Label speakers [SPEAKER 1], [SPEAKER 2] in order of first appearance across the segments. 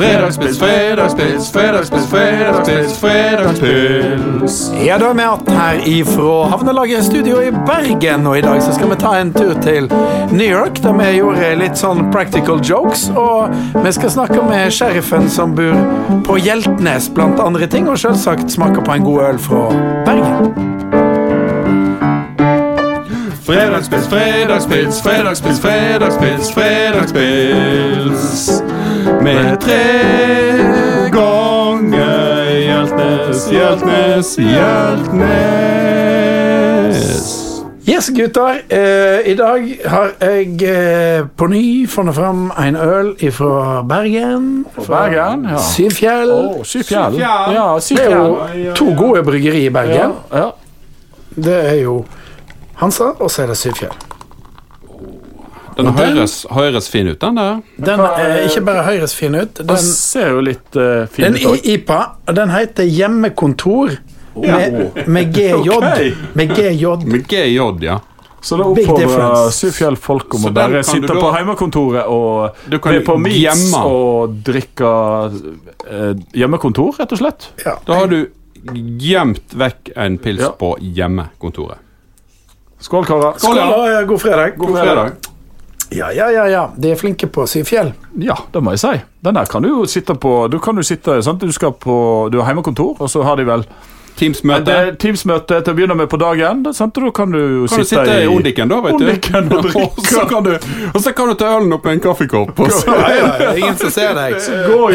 [SPEAKER 1] Fredagspils, fredagspils, fredagspils, fredagspils, fredagspils.
[SPEAKER 2] Ja, da er vi 18 her ifra Havnelaget studio i Bergen, og i dag så skal vi ta en tur til New York, der vi gjorde litt sånn practical jokes, og vi skal snakke med sheriffen som bor på Hjeltnes, blant andre ting, og selvsagt smake på en god øl fra Bergen.
[SPEAKER 1] Fredagspils, fredagspils, fredagspils, fredagspils, fredagspils. Med tre ganger Hjeltnes, Hjeltnes, Hjeltnes.
[SPEAKER 2] Yes, gutter. Eh, I dag har jeg eh, på ny funnet fram en øl ifra Bergen. Fra
[SPEAKER 3] Bergen, ja.
[SPEAKER 2] Syvfjell.
[SPEAKER 3] Å,
[SPEAKER 1] Syfjell.
[SPEAKER 3] Syfjell. Ja,
[SPEAKER 2] Det er
[SPEAKER 3] Syfjell.
[SPEAKER 2] jo to gode bryggeri i Bergen.
[SPEAKER 3] Ja, ja.
[SPEAKER 2] Det er jo Hansa, og så er det Syvfjell.
[SPEAKER 1] Den høres, høres fin ut, den der.
[SPEAKER 2] Den er ikke bare høres fin ut.
[SPEAKER 3] Den
[SPEAKER 2] Den,
[SPEAKER 3] ser jo litt eh, fin
[SPEAKER 2] den
[SPEAKER 3] ut
[SPEAKER 2] i
[SPEAKER 3] også.
[SPEAKER 2] IPA, og den heter Hjemmekontor med, med GJ.
[SPEAKER 3] Ok.
[SPEAKER 2] Med GJ.
[SPEAKER 1] Med GJ, ja.
[SPEAKER 3] Så da
[SPEAKER 2] Big
[SPEAKER 3] oppfordrer
[SPEAKER 2] difference.
[SPEAKER 3] Syfjell folk om
[SPEAKER 1] Så
[SPEAKER 3] å
[SPEAKER 1] den
[SPEAKER 3] bare
[SPEAKER 1] kan
[SPEAKER 3] sitte
[SPEAKER 1] du da-
[SPEAKER 3] på hjemmekontoret og
[SPEAKER 1] Du kan
[SPEAKER 3] bli på meets
[SPEAKER 1] gjemme.
[SPEAKER 3] og drikke eh, hjemmekontor, rett og slett.
[SPEAKER 2] Ja.
[SPEAKER 1] Da har du gjemt vekk en pils
[SPEAKER 3] Ja.
[SPEAKER 1] på hjemmekontoret.
[SPEAKER 3] Skål, karer.
[SPEAKER 1] Skål, ja.
[SPEAKER 2] Skål og god fredag.
[SPEAKER 1] God fredag.
[SPEAKER 2] Ja, ja, ja, ja. De er flinke på Syvfjell.
[SPEAKER 3] Ja, det må jeg si. Den der kan du jo sitte på Du kan jo sitte, sant? Du, skal på, du har hjemmekontor, og så har de vel Det
[SPEAKER 1] Teams-møte.
[SPEAKER 3] er Teams-møte til å begynne med på dagen. Sant? Da kan du jo
[SPEAKER 1] Kan du sitte i Ondiken, da, vet du.
[SPEAKER 3] Ondiken og drikke.
[SPEAKER 1] Og så kan du, og så kan du ta ølen opp med en kaffekopp. Og så.
[SPEAKER 2] Ingen som ser deg.
[SPEAKER 3] går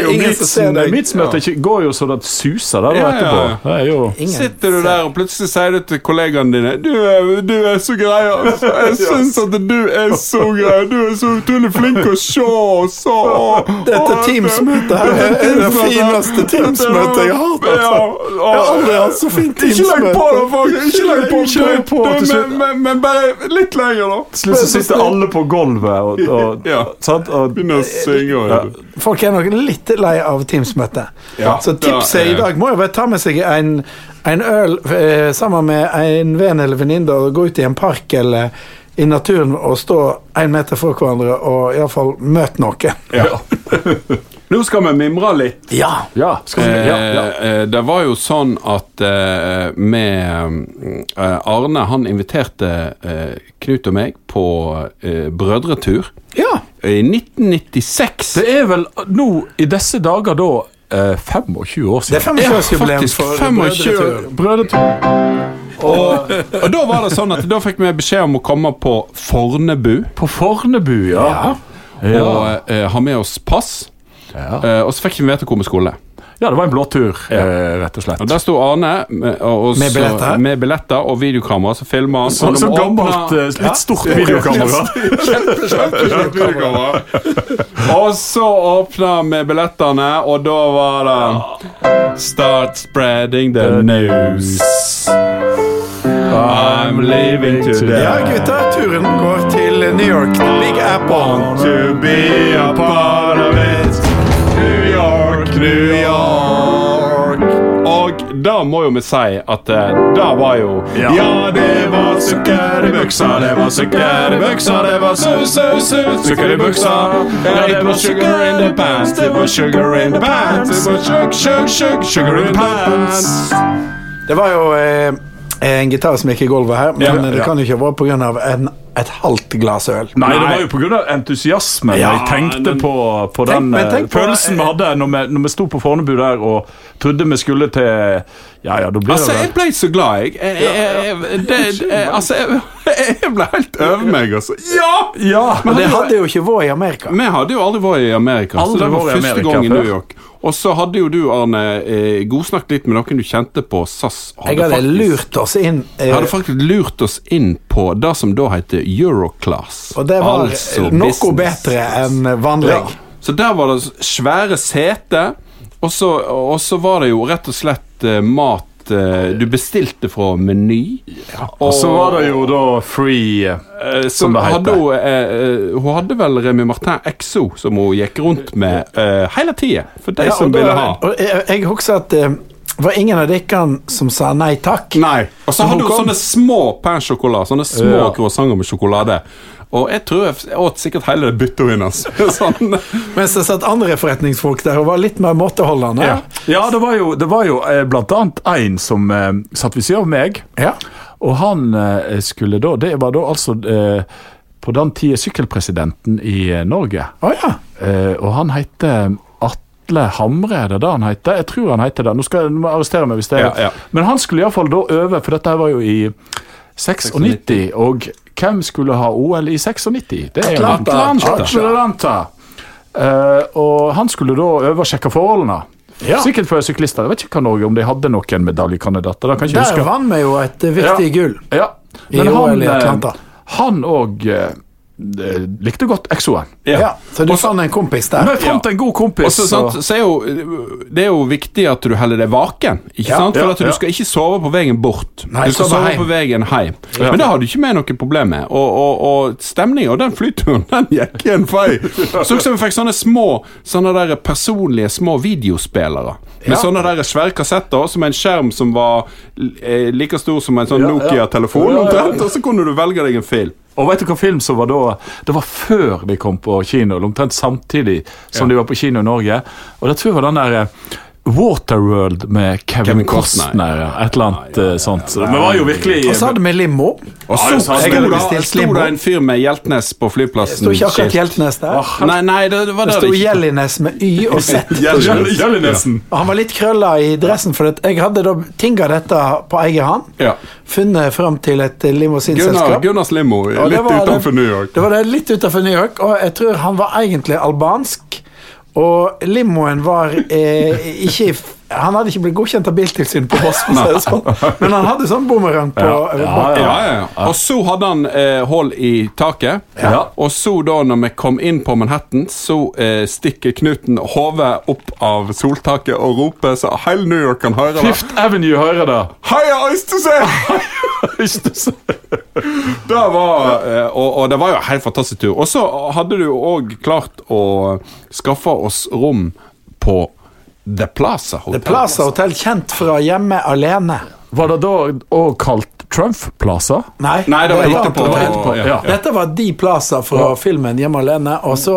[SPEAKER 2] Det er
[SPEAKER 3] jo
[SPEAKER 2] ingen som ser
[SPEAKER 3] midtsen,
[SPEAKER 2] deg.
[SPEAKER 3] midtsmøtet ikke- går jo så det suser der da
[SPEAKER 1] Ja, ja,
[SPEAKER 3] etterpå.
[SPEAKER 1] ja.
[SPEAKER 3] Det er jo
[SPEAKER 2] Ingen.
[SPEAKER 1] Sitter du der, og plutselig sier du til kollegaene dine Du er, du er så grei, altså. Jeg syns at du er så grei. Du er så utrolig flink å se og så og-
[SPEAKER 2] Dette
[SPEAKER 1] og-
[SPEAKER 2] Teams-møtet her er det fineste Teams-møtet jeg har hatt.
[SPEAKER 1] Ja,
[SPEAKER 2] altså.
[SPEAKER 1] og-
[SPEAKER 2] Jeg har aldri hatt så fint
[SPEAKER 1] Ikke legg på,
[SPEAKER 2] Teams-møte.
[SPEAKER 1] da, folk. Ikke legg på.
[SPEAKER 3] Ikke legg på
[SPEAKER 1] Du-
[SPEAKER 3] til
[SPEAKER 1] du-
[SPEAKER 3] slutt.
[SPEAKER 1] men, men, men bare litt lenger, da.
[SPEAKER 3] Til slutt så sitter alle på gulvet og, og,
[SPEAKER 1] Ja.
[SPEAKER 3] sant? og
[SPEAKER 1] Begynner å synge. og-
[SPEAKER 3] Ja.
[SPEAKER 2] Folk er nok litt lei av Teams-møte.
[SPEAKER 1] Ja,
[SPEAKER 2] Så
[SPEAKER 1] da er-
[SPEAKER 2] tipset i dag må jo være ta med seg en, en øl eh, sammen med en venn eller venninne og gå ut i en park eller i naturen og stå én meter fra hverandre og iallfall møte noe.
[SPEAKER 1] Nå skal vi mimre litt.
[SPEAKER 2] Ja.
[SPEAKER 3] Ja, skal vi, ja, ja.
[SPEAKER 1] Eh, eh, Det var jo sånn at eh, med eh, Arne Han inviterte eh, Knut og meg på eh, brødretur
[SPEAKER 2] ja.
[SPEAKER 1] i 1996.
[SPEAKER 3] Det er vel nå i disse dager da eh, 25 år
[SPEAKER 2] Det er
[SPEAKER 3] siden.
[SPEAKER 2] 25-årsjubileum for
[SPEAKER 1] 25
[SPEAKER 2] Brødretur.
[SPEAKER 1] brødretur. Og, og da var det sånn at da fikk vi beskjed om å komme på Fornebu
[SPEAKER 3] På Fornebu, ja. Ja.
[SPEAKER 1] og eh, ha med oss pass.
[SPEAKER 3] Ja.
[SPEAKER 1] Eh, og så fikk vi vite hvor vi skulle.
[SPEAKER 3] ja, det var en blåtur, eh, rett og
[SPEAKER 1] Og
[SPEAKER 3] slett.
[SPEAKER 1] Der sto Arne med, og, og,
[SPEAKER 2] Med
[SPEAKER 1] så-
[SPEAKER 2] billetter.
[SPEAKER 1] med billetter og videokamera, så filma han.
[SPEAKER 3] Så,
[SPEAKER 1] og de
[SPEAKER 3] så
[SPEAKER 1] åpna-
[SPEAKER 3] gammelt, eh, litt stort videokamera.
[SPEAKER 1] Og så åpna vi billettene, og da var det Start spreading the news. I'm leaving today
[SPEAKER 2] Ja, gutter, turen går til New York. Big Apple.
[SPEAKER 1] to be a part of it. New York, New York. Og da må jo vi si at eh, da var jo
[SPEAKER 3] Ja.
[SPEAKER 1] det var sukker i buksa, det var sukker i buksa, det var sus, sus, sus, sukker i buksa. Ja, det var sugar in the pants, det var sugar in the pants, det var sug, sug, sug, sugar in the pants.
[SPEAKER 2] Det var jo eh, en gitar som gikk i gulvet her, men
[SPEAKER 1] Ja,
[SPEAKER 2] eh, det
[SPEAKER 1] ja.
[SPEAKER 2] kan jo ikke være pga. et halvt glass øl.
[SPEAKER 3] Nei, det var jo pga. entusiasmen.
[SPEAKER 2] Ja,
[SPEAKER 3] jeg tenkte
[SPEAKER 1] men-
[SPEAKER 3] på, på
[SPEAKER 2] Tenk-
[SPEAKER 3] den
[SPEAKER 2] men
[SPEAKER 3] eh,
[SPEAKER 2] tenk på-
[SPEAKER 3] følelsen vi hadde når vi, når vi sto på Fornebu der og trodde vi skulle til Ja, ja, da blir
[SPEAKER 1] Altså, jeg
[SPEAKER 3] det vel
[SPEAKER 1] ble så glad, jeg. jeg, jeg, jeg det, det- altså, jeg, jeg ble helt over meg, altså. Ja!
[SPEAKER 3] Ja!
[SPEAKER 2] Men det hadde jo ikke vært i Amerika.
[SPEAKER 1] Vi hadde jo aldri vært i Amerika,
[SPEAKER 3] Aldri
[SPEAKER 1] så det var
[SPEAKER 3] vært i
[SPEAKER 1] første
[SPEAKER 3] Amerika
[SPEAKER 1] gang i
[SPEAKER 3] før.
[SPEAKER 1] New York. Og så hadde jo du, Arne, eh, godsnakket litt med noen du kjente på SAS. og
[SPEAKER 2] Jeg hadde
[SPEAKER 1] faktisk-
[SPEAKER 2] lurt oss inn. eh,
[SPEAKER 1] hadde faktisk lurt oss inn på det som da heter Euroclass.
[SPEAKER 2] og det var eh,
[SPEAKER 1] altså
[SPEAKER 2] noe
[SPEAKER 1] business.
[SPEAKER 2] bedre enn vanlig.
[SPEAKER 1] Ja. Så der var det svære seter, og så, og så var det jo rett og slett eh, mat eh, du bestilte fra Meny.
[SPEAKER 3] Og så var det jo da free eh,
[SPEAKER 1] Eh,
[SPEAKER 3] Som
[SPEAKER 1] som
[SPEAKER 3] det heter.
[SPEAKER 1] hadde hun, eh, eh, hun hadde vel Remi Martin Exo, som hun gikk rundt med eh, hele tida. For de
[SPEAKER 2] Ja,
[SPEAKER 1] som
[SPEAKER 2] og da-
[SPEAKER 1] ville ha.
[SPEAKER 2] og jeg, jeg husker at eh, det var ingen av dere som sa nei takk.
[SPEAKER 1] Nei. Og så hadde hun
[SPEAKER 2] kom-
[SPEAKER 1] sånne små pain chocolat, sånne små
[SPEAKER 3] Ja.
[SPEAKER 1] croissanter med sjokolade. Og jeg tror jeg åt sikkert hele det byttet hennes. sånn.
[SPEAKER 2] Mens det satt andre forretningsfolk der og var litt mer måteholdende.
[SPEAKER 3] Ja, ja det var jo, det var jo eh, blant annet en som eh, satt ved siden av meg.
[SPEAKER 2] Ja.
[SPEAKER 3] Og han eh, skulle da Det var da altså eh, på den tida sykkelpresidenten i eh, Norge.
[SPEAKER 2] Å ja.
[SPEAKER 3] Eh, og han heter Atle Hamre, er det det han heter? Jeg tror han heter det. Nå skal jeg arrestere meg hvis det er
[SPEAKER 1] Ja, ja.
[SPEAKER 3] Men han skulle iallfall da øve, for dette her var jo i 96, og hvem skulle ha OL i 96? Det er jo
[SPEAKER 2] Atlanta.
[SPEAKER 3] Atlanta.
[SPEAKER 2] Atlanta.
[SPEAKER 3] Atlanta. Eh, og han skulle da øve og sjekke forholdene.
[SPEAKER 2] Ja.
[SPEAKER 3] Sikkert for syklister. Jeg vet ikke hva Norge om de hadde noen medaljekandidater. Det kan jeg ikke
[SPEAKER 2] Der
[SPEAKER 3] huske.
[SPEAKER 2] vant vi jo et eh, viktig
[SPEAKER 3] Ja.
[SPEAKER 2] gull.
[SPEAKER 3] Ja.
[SPEAKER 2] I OL i
[SPEAKER 3] eh,
[SPEAKER 2] Atlanta.
[SPEAKER 3] Han òg likte godt Exo-en.
[SPEAKER 2] Ja. Så du fant en kompis der.
[SPEAKER 3] Men jeg fant en god kompis.
[SPEAKER 1] Og så, sant, så er jo, det er jo viktig at du holder deg vaken. Ikke
[SPEAKER 2] Ja,
[SPEAKER 1] sant? For
[SPEAKER 3] ja,
[SPEAKER 1] at du
[SPEAKER 3] ja.
[SPEAKER 1] skal ikke sove på veien bort.
[SPEAKER 2] Nei,
[SPEAKER 1] du skal
[SPEAKER 2] sove
[SPEAKER 1] sove
[SPEAKER 2] heim.
[SPEAKER 1] på veien hjem. Men det har du ikke med noe problem med. Og, og, og stemninga, den flyturen, den gikk i en fei. Så også vi fikk sånne små Sånne der personlige små videospillere. Med sånne der svære kassetter som en skjerm som var eh, like stor som en sånn Nokia-telefon, omtrent. Og så kunne du velge deg en film.
[SPEAKER 3] Og vet du hva film som var da? Det var før de kom på kino, eller omtrent samtidig som de var på kino i Norge. Og det tror jeg var den der eh, Waterworld med Kevin,
[SPEAKER 1] Kevin Costner.
[SPEAKER 3] Costner. ja. Et eller annet eh, sånt. Vi var jo virkelig
[SPEAKER 2] Og så hadde vi limo.
[SPEAKER 1] Og så
[SPEAKER 3] Ja,
[SPEAKER 1] sto
[SPEAKER 3] jeg
[SPEAKER 2] hadde
[SPEAKER 1] det-
[SPEAKER 2] bestilt
[SPEAKER 1] sto det
[SPEAKER 2] limo.
[SPEAKER 1] en fyr med Hjeltnes på flyplassen.
[SPEAKER 2] Sto ikke akkurat Hjeltnes der.
[SPEAKER 1] Nei, nei, det, det var
[SPEAKER 2] Det
[SPEAKER 1] der
[SPEAKER 2] sto
[SPEAKER 1] det ikke-
[SPEAKER 2] Jellines med Y og Z.
[SPEAKER 1] Jell-
[SPEAKER 3] Jøllinesen.
[SPEAKER 2] Og han var litt krølla i dressen, for at jeg hadde da tinga dette på egen hånd.
[SPEAKER 1] Ja.
[SPEAKER 2] Funnet fram til et
[SPEAKER 1] Gunnar,
[SPEAKER 2] limousinselskap.
[SPEAKER 1] Gunnars limo,
[SPEAKER 2] Og det
[SPEAKER 1] litt
[SPEAKER 2] var det-
[SPEAKER 1] utenfor New York.
[SPEAKER 2] Det var det litt utenfor New York, og jeg tror han var egentlig albansk. Og limoen var eh, ikke i f- Han hadde ikke blitt godkjent av Biltilsynet på Voss, for å si det sånn. men han hadde sånn bumerang på
[SPEAKER 3] Ja, ja,
[SPEAKER 1] Ja, ja, ja. Og så hadde han eh, hull i taket.
[SPEAKER 3] Ja.
[SPEAKER 1] Og så, da når vi kom inn på Manhattan, så eh, stikker Knuten hodet opp av soltaket og roper så hele New York kan høre det.
[SPEAKER 3] Fifth Avenue hører det.
[SPEAKER 1] Heia Øystese! Det var, eh, og, og det var jo en helt fantastisk tur. Og så hadde du òg klart å skaffe oss rom på The Plaza Hotel.
[SPEAKER 2] The Plaza Hotel, kjent fra Hjemme alene.
[SPEAKER 3] Var det da òg kalt Trump-plasser?
[SPEAKER 2] Nei,
[SPEAKER 1] Nei, det var
[SPEAKER 2] et
[SPEAKER 1] etterpå. Det
[SPEAKER 2] annet hotell.
[SPEAKER 1] var etterpå,
[SPEAKER 3] ja.
[SPEAKER 2] Dette var de plasser fra filmen Hjemme alene, og så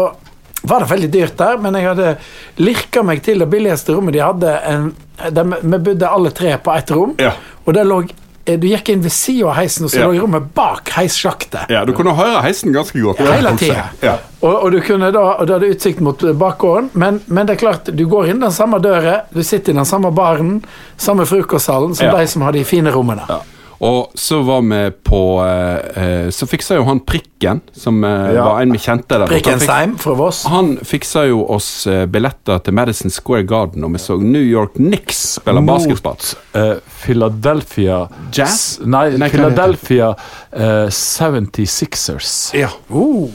[SPEAKER 2] var det veldig dyrt der, men jeg hadde lirka meg til det billigste rommet de hadde. En, de, vi bodde alle tre på ett rom,
[SPEAKER 1] Ja.
[SPEAKER 2] og det lå eh, du gikk inn ved sida av heisen, og så
[SPEAKER 1] Ja.
[SPEAKER 2] lå rommet bak heissjaktet.
[SPEAKER 1] Ja, du kunne høre heisen ganske godt.
[SPEAKER 2] Hele tida.
[SPEAKER 1] Ja.
[SPEAKER 2] Og, og du kunne da, og du hadde utsikt mot eh, bakgården, men, men det er klart, du går inn den samme døra, du sitter i den samme baren, samme frokosthallen som
[SPEAKER 1] Ja.
[SPEAKER 2] de som har de fine rommene.
[SPEAKER 1] Og så var vi på eh, eh, Så fiksa jo han Prikken, som eh,
[SPEAKER 3] Ja.
[SPEAKER 1] var en vi kjente der. Han fikk-
[SPEAKER 2] Brikkensheim fra Voss.
[SPEAKER 1] Han fiksa jo oss eh, billetter til Madison Square Garden, og vi så New York Knicks spille basketball.
[SPEAKER 3] eh, Philadelphia
[SPEAKER 1] Jazz?
[SPEAKER 3] S- Nei,
[SPEAKER 1] Nei, hva
[SPEAKER 3] Philadelphia eh, 76ers.
[SPEAKER 1] Ja.
[SPEAKER 2] Oh.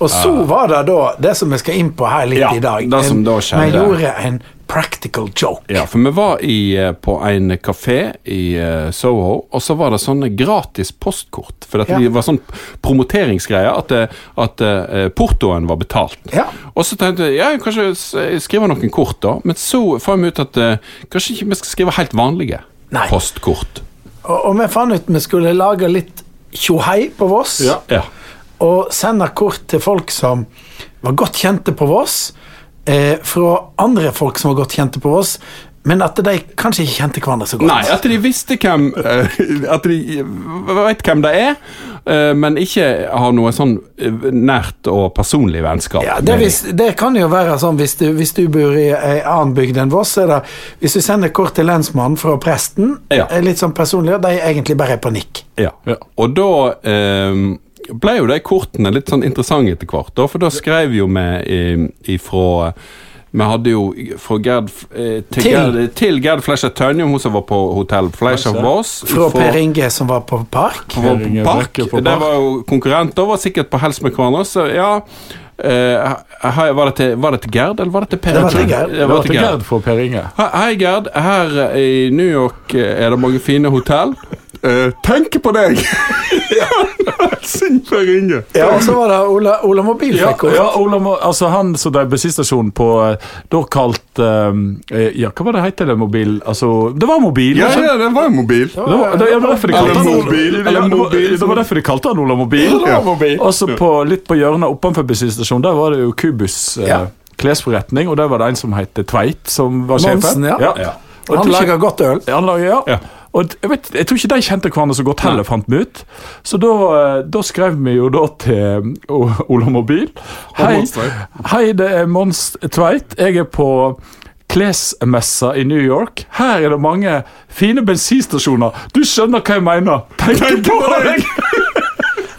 [SPEAKER 2] Og så var det da det som vi skal inn på her litt
[SPEAKER 1] Ah. Ja,
[SPEAKER 2] i dag.
[SPEAKER 1] det som da skjedde.
[SPEAKER 2] Vi gjorde en practical joke.
[SPEAKER 1] Ja, for vi var i, eh, på en kafé i eh, Soho, og så var det sånne gratis postkort. For at
[SPEAKER 2] Ja.
[SPEAKER 1] det var sånn promoteringsgreier at, eh, at eh, portoen var betalt.
[SPEAKER 2] Ja.
[SPEAKER 1] Og så tenkte jeg ja, kanskje s- eh, skrive noen kort, da. Men så fant vi ut at eh, kanskje ikke vi skal skrive helt vanlige
[SPEAKER 2] Nei.
[SPEAKER 1] postkort.
[SPEAKER 2] Og, og vi fant ut vi skulle lage litt tjohei på Voss,
[SPEAKER 1] Ja.
[SPEAKER 2] og sende kort til folk som var godt kjente på Voss, eh, fra andre folk som var godt kjente på Voss, men at de kanskje ikke kjente hverandre så godt.
[SPEAKER 1] Nei, at de visste hvem eh, At de vet hvem det er, eh, men ikke har noe sånn eh, nært og personlig vennskap.
[SPEAKER 2] Ja, det,
[SPEAKER 1] med
[SPEAKER 2] hvis, det kan jo være sånn hvis du, hvis du bor i ei annen bygd enn Voss. Er det, hvis du sender kort til lensmannen fra presten,
[SPEAKER 1] Ja.
[SPEAKER 2] eh, litt sånn personlig, og de egentlig bare er på nikk.
[SPEAKER 1] de. ja.
[SPEAKER 3] Ja.
[SPEAKER 1] Og da ehm, ble jo de kortene litt sånn interessante etter hvert, da, for da skrev jo vi i- ifra vi hadde jo fra Gerd eh, til,
[SPEAKER 2] Til.
[SPEAKER 1] Gerd, til Gerd Fleischer Tønjum, hun som var på hotell Fleischer Voss.
[SPEAKER 2] Fra
[SPEAKER 1] ifra-
[SPEAKER 2] Per Inge som var på park.
[SPEAKER 1] på
[SPEAKER 3] Per Inge
[SPEAKER 1] park.
[SPEAKER 3] Brekke på
[SPEAKER 1] Det
[SPEAKER 3] Park.
[SPEAKER 1] var jo konkurrenter, var sikkert på hels med hverandre. Så ja eh, hei, var, det til, var det til Gerd, eller var det til Per?
[SPEAKER 2] Det var til
[SPEAKER 1] Jeg tror-
[SPEAKER 2] Gerd.
[SPEAKER 1] Det var til Gerd.
[SPEAKER 3] for Per Inge.
[SPEAKER 1] Hei, Hei, Gerd. Her i New York eh, er det mange fine hotell. Eh, tenk på deg! Sigve Ringe.
[SPEAKER 2] Ja, og så var det Ola, Ola Mobil
[SPEAKER 3] Ja,
[SPEAKER 2] fikk ja,
[SPEAKER 3] ja Ola, Mo- altså han som drev bensinstasjonen på eh, Da kalt eh, Ja, hva var det het det mobil? Altså, det var mobil!
[SPEAKER 1] Ja,
[SPEAKER 3] altså.
[SPEAKER 1] ja, det var jo mobil.
[SPEAKER 3] Det var, det, ja, det var derfor de
[SPEAKER 1] Eller
[SPEAKER 3] kalte han
[SPEAKER 1] mobil,
[SPEAKER 3] Ola-
[SPEAKER 1] eller
[SPEAKER 3] det var-
[SPEAKER 1] mobil.
[SPEAKER 3] Det var derfor de kalte han Ola Mobil.
[SPEAKER 1] Ja.
[SPEAKER 3] Og så på, litt på hjørnet oppenfor bensinstasjonen, der var det jo Kubus eh,
[SPEAKER 2] Ja.
[SPEAKER 3] klesforretning, og der var det en som het Tveit, som var sjefen.
[SPEAKER 2] Monsen, ja.
[SPEAKER 1] Ja.
[SPEAKER 3] Og jeg
[SPEAKER 2] Han
[SPEAKER 3] tror ikke-
[SPEAKER 2] lager godt øl.
[SPEAKER 3] ja, han lager, ja.
[SPEAKER 1] Ja.
[SPEAKER 3] Og d- jeg, vet, jeg tror ikke de kjente hverandre så godt heller, fant vi ut. Så da, eh, da skrev vi jo da til mm, O- Ola Mobil. Hei,
[SPEAKER 1] Mons Tveit.
[SPEAKER 3] hei, det er Mons Tveit. Jeg er på klesmessa i New York. Her er det mange fine bensinstasjoner. Du skjønner hva jeg mener. Tenker på deg!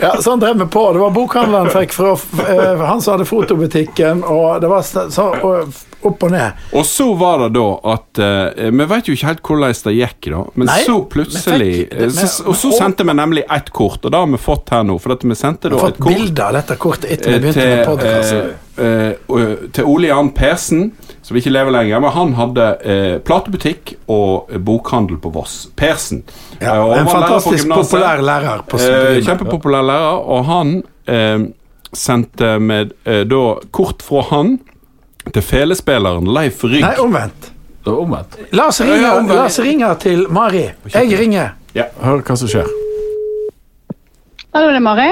[SPEAKER 2] Ja, så han drev med på. Det var bokhandleren fikk fra eh, han som hadde fotobutikken, og det var så, så og, opp og ned.
[SPEAKER 1] Og så var det da at eh, Vi vet jo ikke helt hvordan det gikk, da. Men
[SPEAKER 2] Nei,
[SPEAKER 1] så plutselig
[SPEAKER 2] men tenk- det-
[SPEAKER 1] eh, så, Og så sendte vi nemlig ett kort, og det har vi fått her nå. For at vi sendte da
[SPEAKER 2] Jeg har
[SPEAKER 1] et
[SPEAKER 2] fått
[SPEAKER 1] kort
[SPEAKER 2] bilder av dette kortet etter
[SPEAKER 1] eh,
[SPEAKER 2] vi begynte med
[SPEAKER 1] til,
[SPEAKER 2] podkasten.
[SPEAKER 1] eh, eh, til Ole Jan Persen, som ikke lever lenger. Men han hadde eh, platebutikk og eh, bokhandel på Voss. Persen. Eh, og han var
[SPEAKER 2] en
[SPEAKER 1] lærer på
[SPEAKER 2] fantastisk
[SPEAKER 1] gymnaset.
[SPEAKER 2] populær lærer
[SPEAKER 1] Eh,
[SPEAKER 2] på Stryn.
[SPEAKER 1] kjempepopulær lærer, og han eh, sendte med eh, da kort fra han til felespilleren Leif Rygg.
[SPEAKER 2] Nei, omvendt.
[SPEAKER 3] Det var omvendt.
[SPEAKER 2] La oss ringe,
[SPEAKER 1] Ja, omvendt.
[SPEAKER 2] la oss ringe til Mari. Jeg ringer.
[SPEAKER 3] Hør hva som skjer.
[SPEAKER 4] Hallo, det er Mari.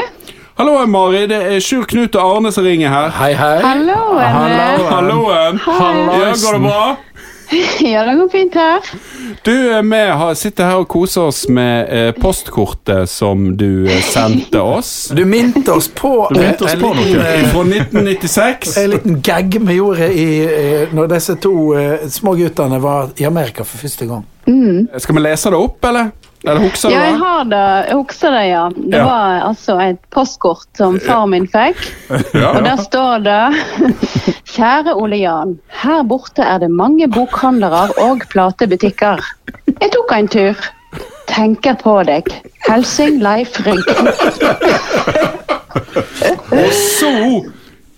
[SPEAKER 1] Hallo, Mari. Det er Sjur Knut og Arne som ringer her.
[SPEAKER 2] Hei, hei.
[SPEAKER 4] Hallo, Enne.
[SPEAKER 1] Halloen. Ja, går det bra?
[SPEAKER 4] Ja, det går fint her.
[SPEAKER 1] Du, eh, vi har- sitter her og koser oss med eh, postkortet som du eh, sendte oss.
[SPEAKER 2] Du minte oss på,
[SPEAKER 3] Du minte oss
[SPEAKER 2] en,
[SPEAKER 3] på
[SPEAKER 2] liten,
[SPEAKER 3] noe.
[SPEAKER 2] eh,
[SPEAKER 1] Fra 1996.
[SPEAKER 2] en liten gag vi gjorde i, eh, når disse to eh, småguttene var i Amerika for første gang.
[SPEAKER 1] Skal vi lese det opp, eller? Eller husker du
[SPEAKER 4] Ja, jeg
[SPEAKER 1] det?
[SPEAKER 4] har det. Jeg husker det, ja. Det
[SPEAKER 1] Ja.
[SPEAKER 4] var altså et postkort som far min fikk. Og der står det Kjære Ole Jan. Her borte er det mange bokhandlere og platebutikker. Jeg tok en tur. Tenker på deg. Helsing Leif Rygg.
[SPEAKER 1] Og så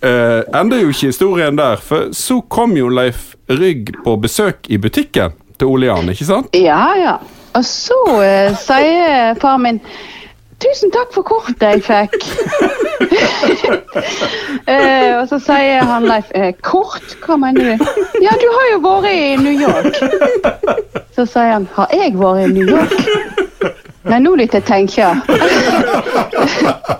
[SPEAKER 1] eh, ender jo ikke historien der, for så kom jo Leif Rygg på besøk i butikken til Ole Jan, ikke sant?
[SPEAKER 4] Ja, ja. Og så eh, sier far min Tusen takk for kortet jeg fikk. eh, og så sier han Leif eh, Kort? Hva mener du? Ja, du har jo vært i New York. Så sier han Har jeg vært i New York? Nei, nå litt jeg tenker.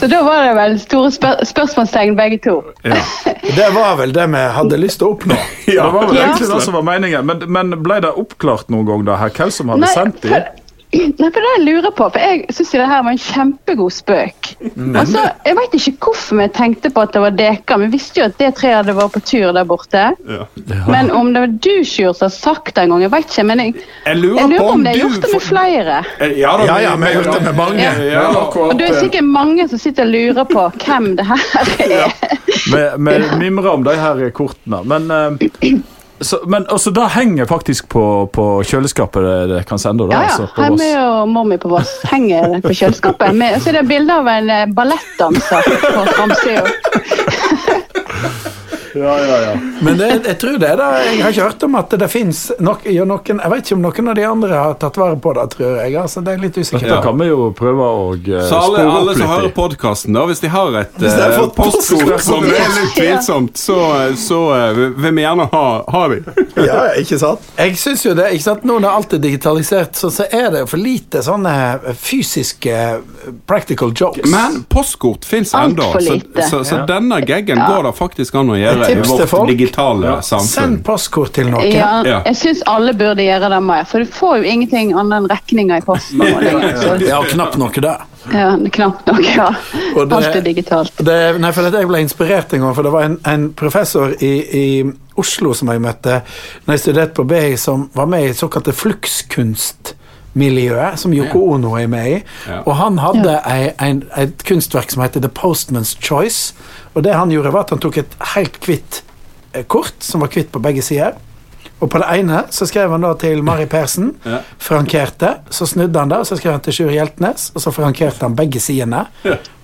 [SPEAKER 4] så da var det vel store spør spørsmålstegn begge to.
[SPEAKER 2] Det var vel det vi hadde lyst til å oppnå.
[SPEAKER 3] Det var vel
[SPEAKER 4] Ja.
[SPEAKER 3] egentlig det som var meningen, men, men ble det oppklart noen gang da her, hvem som hadde sendt
[SPEAKER 4] for,
[SPEAKER 3] dem?
[SPEAKER 4] nei, for det jeg lurer på, for jeg syns det her var en kjempegod spøk. Altså, Jeg veit ikke hvorfor vi tenkte på at det var dere. Vi visste jo at det treet hadde vært på tur der borte. Men om det var du, Sjur, som har sagt det en gang, jeg veit ikke. Men jeg,
[SPEAKER 1] Jeg lurer,
[SPEAKER 4] jeg
[SPEAKER 1] på
[SPEAKER 4] lurer på
[SPEAKER 1] om
[SPEAKER 4] om det er
[SPEAKER 1] du
[SPEAKER 4] gjort det
[SPEAKER 1] får-
[SPEAKER 4] med flere.
[SPEAKER 1] Eh, Ja, da,
[SPEAKER 2] Ja, ja, vi har gjort det med mange.
[SPEAKER 4] Ja.
[SPEAKER 1] Ja,
[SPEAKER 4] Og det
[SPEAKER 1] eh,
[SPEAKER 4] er sikkert mange som sitter og lurer på hvem det her er.
[SPEAKER 3] Vi vi mimrer om de her kortene. Men, eh, så, men altså, det henger faktisk på, på kjøleskapet det, det kan sende. Da,
[SPEAKER 4] Ja, ja.
[SPEAKER 3] altså, på
[SPEAKER 4] Her
[SPEAKER 3] Voss.
[SPEAKER 4] med og mormi på Voss henger på kjøleskapet. Med, så er det bilde av en eh, ballettdanser på framsida.
[SPEAKER 2] Men det, jeg tror det er det. Jeg har ikke hørt om at det fins nok, ja, noen Jeg vet ikke om noen av de andre har tatt vare på det, tror jeg. Altså, det er litt usikkert.
[SPEAKER 3] Da kan vi jo prøve å eh,
[SPEAKER 1] Så alle,
[SPEAKER 3] spore
[SPEAKER 1] alle
[SPEAKER 3] opp
[SPEAKER 1] som
[SPEAKER 3] litt.
[SPEAKER 1] hører
[SPEAKER 3] i.
[SPEAKER 1] podkasten, da, hvis de har et
[SPEAKER 2] de har
[SPEAKER 1] eh,
[SPEAKER 2] fått
[SPEAKER 1] postkort
[SPEAKER 2] postkort
[SPEAKER 1] som er litt tvilsomt, så, så eh, vil vi gjerne ha, ha de.
[SPEAKER 2] Ja, ikke sant? Jeg synes jo det, ikke sant? Nå når alt er digitalisert, så, så er det jo for lite sånne fysiske eh, practical jokes.
[SPEAKER 1] Men postkort fins
[SPEAKER 4] Alt
[SPEAKER 1] ennå,
[SPEAKER 4] for
[SPEAKER 1] så,
[SPEAKER 4] lite.
[SPEAKER 1] så, så denne gaggen går det faktisk an å gjøre i
[SPEAKER 2] tips til
[SPEAKER 1] vårt
[SPEAKER 2] folk.
[SPEAKER 1] digitale samfunn.
[SPEAKER 2] Send postkort til noen.
[SPEAKER 4] Ja,
[SPEAKER 1] Ja.
[SPEAKER 4] jeg syns alle burde gjøre det mer, for du får jo ingenting annet enn regninger i posten. nå lenger, så-
[SPEAKER 2] Ja, knapt noe der.
[SPEAKER 4] Ja, det er knapt nok, ja.
[SPEAKER 2] Og det-
[SPEAKER 4] Alt er digitalt.
[SPEAKER 2] Det, nei, for at Jeg ble inspirert en gang, for det var en, en professor i, i Oslo som jeg møtte når jeg studerte på BI, som var med i det såkalte flukskunstmiljøet, som Yoko Ono er med i.
[SPEAKER 1] Ja.
[SPEAKER 2] Og han hadde ei, en, et kunstverk som heter The Postman's Choice. Og det han gjorde, var at han tok et helt hvitt eh, kort, som var hvitt på begge sider. Og på det ene så skrev han da til Mari Persen,
[SPEAKER 1] Ja.
[SPEAKER 2] frankerte. Så snudde han det, og så skrev han til Sjur Hjeltnes, og så frankerte han begge sidene.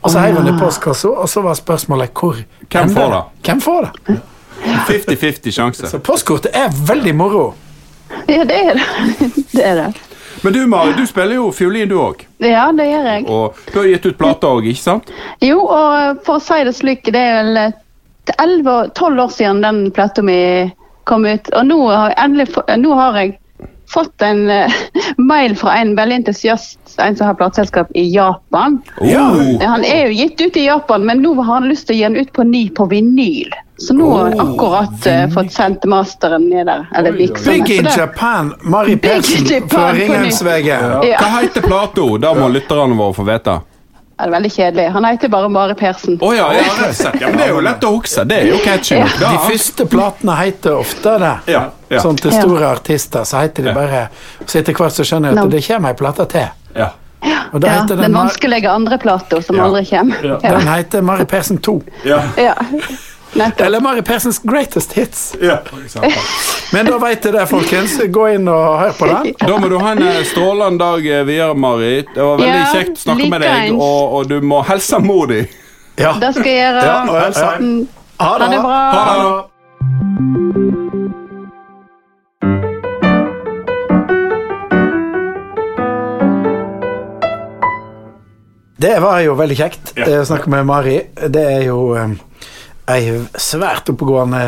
[SPEAKER 2] Og så heiv han
[SPEAKER 4] Ah.
[SPEAKER 2] det i postkassa, og så var spørsmålet hvor
[SPEAKER 1] Hvem
[SPEAKER 2] ender
[SPEAKER 1] får
[SPEAKER 2] det? Hvem får det?
[SPEAKER 1] 50-50 sjanse.
[SPEAKER 2] Så postkortet er veldig moro.
[SPEAKER 4] Ja, det er det. det, er det.
[SPEAKER 1] Men du, Mari, du spiller jo fiolin, du òg.
[SPEAKER 4] Ja, det gjør jeg.
[SPEAKER 1] Og du har gitt ut plater òg, ikke sant?
[SPEAKER 4] Jo, og for å si det slik, det er vel til 11 og 12 år siden den plata mi kom ut. Og nå har jeg, endelig, få- nå har jeg fått en eh, mail fra en veldig entusiast, en som har plateselskap i Japan.
[SPEAKER 1] Ja.
[SPEAKER 4] Han er jo gitt ut i Japan, men nå har han lyst til å gi den ut på ny på vinyl. Så nå har jeg akkurat eh, fått sendt masteren ned der. Eller altså. mikseren.
[SPEAKER 2] Big in
[SPEAKER 4] Så det-
[SPEAKER 2] Japan, Mari
[SPEAKER 4] Big in
[SPEAKER 2] Persen
[SPEAKER 4] Japan
[SPEAKER 2] fra
[SPEAKER 4] på nytt.
[SPEAKER 2] Ringens VG.
[SPEAKER 4] Ja,
[SPEAKER 1] Hva heter plata? Da må lytterne våre få vite.
[SPEAKER 4] det er veldig kjedelig. Han heter bare Mari Persen.
[SPEAKER 1] Å ja, ja, rett og slett. ja, men det er jo lett å huske. Det er jo catchy nok,
[SPEAKER 2] De
[SPEAKER 1] da.
[SPEAKER 2] første platene heter ofte det.
[SPEAKER 1] Ja, ja.
[SPEAKER 2] Sånn til store artister så heter de bare Så etter hvert så skjønner jeg at
[SPEAKER 4] No.
[SPEAKER 2] det kommer ei plate til.
[SPEAKER 1] Ja.
[SPEAKER 2] Og da
[SPEAKER 4] Ja,
[SPEAKER 2] heter
[SPEAKER 4] den
[SPEAKER 2] den, Mar
[SPEAKER 4] vanskelige andre plata som
[SPEAKER 1] Ja.
[SPEAKER 4] aldri kommer.
[SPEAKER 3] Ja.
[SPEAKER 2] den heter Mari Persen 2.
[SPEAKER 1] Ja.
[SPEAKER 4] Ja. Nettopp.
[SPEAKER 2] Eller Mari Persens Greatest Hits.
[SPEAKER 1] Ja.
[SPEAKER 2] Men da veit dere det, folkens. Gå inn og hør på den.
[SPEAKER 1] Da må du ha en eh, strålende dag eh, videre, Mari. Det var veldig
[SPEAKER 4] Ja,
[SPEAKER 1] kjekt å snakke med deg,
[SPEAKER 4] likeens.
[SPEAKER 1] og, og du må hilse mor di.
[SPEAKER 2] Ja.
[SPEAKER 4] Det skal jeg gjøre.
[SPEAKER 2] Ja, og jeg sa-
[SPEAKER 4] Mm,
[SPEAKER 2] Ha
[SPEAKER 4] Ha det bra.
[SPEAKER 1] Ha det.
[SPEAKER 2] Det var jo veldig kjekt
[SPEAKER 1] Ja.
[SPEAKER 2] eh, å snakke med Mari. Det er jo eh, ei svært oppegående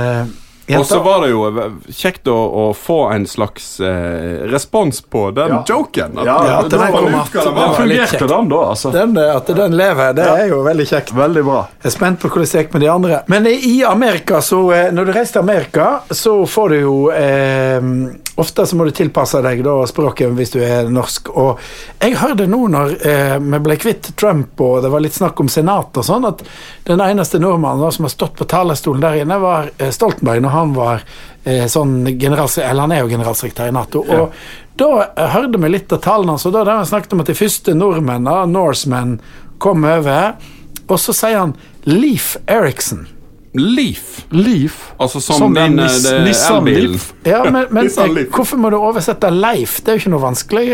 [SPEAKER 1] Og så
[SPEAKER 2] jente.
[SPEAKER 1] var det jo eh, kjekt å, å få en slags eh, respons på den joken. At,
[SPEAKER 2] Ja, at den
[SPEAKER 1] det var
[SPEAKER 2] kom
[SPEAKER 1] luka,
[SPEAKER 2] at-
[SPEAKER 1] det var.
[SPEAKER 2] Ja, litt
[SPEAKER 3] Fungerte
[SPEAKER 2] kjekt.
[SPEAKER 3] den da, altså?
[SPEAKER 2] Den, eh, at den lever, det er jo veldig kjekt.
[SPEAKER 3] Veldig bra.
[SPEAKER 2] Jeg er spent på hvordan det gikk med de andre. Men i Amerika, så eh, Når du reiser til Amerika, så får du jo eh, Ofte så må du tilpasse deg da språket hvis du er norsk. Og jeg hørte nå når eh, vi ble kvitt Trump og det var litt snakk om senat og sånn, at den eneste nordmannen da som har stått på talerstolen der inne, var eh, Stoltenberg når han var eh, sånn generals, eller han er jo generalsekretær i Nato. Og da eh, hørte vi litt av tallene hans, og da der han snakket om at de første nordmennene, Norsemen, kom over. Og så sier han Leif Eriksen.
[SPEAKER 1] Leaf.
[SPEAKER 3] Liv.
[SPEAKER 1] Altså som,
[SPEAKER 3] Som
[SPEAKER 1] den,
[SPEAKER 3] den
[SPEAKER 1] eh,
[SPEAKER 3] Nis-
[SPEAKER 1] det-
[SPEAKER 3] Nissan
[SPEAKER 1] elbilen.
[SPEAKER 3] Leaf.
[SPEAKER 2] Ja, men, men
[SPEAKER 1] de sa Leif.
[SPEAKER 2] hvorfor må du oversette Leif? Det er jo ikke noe vanskelig.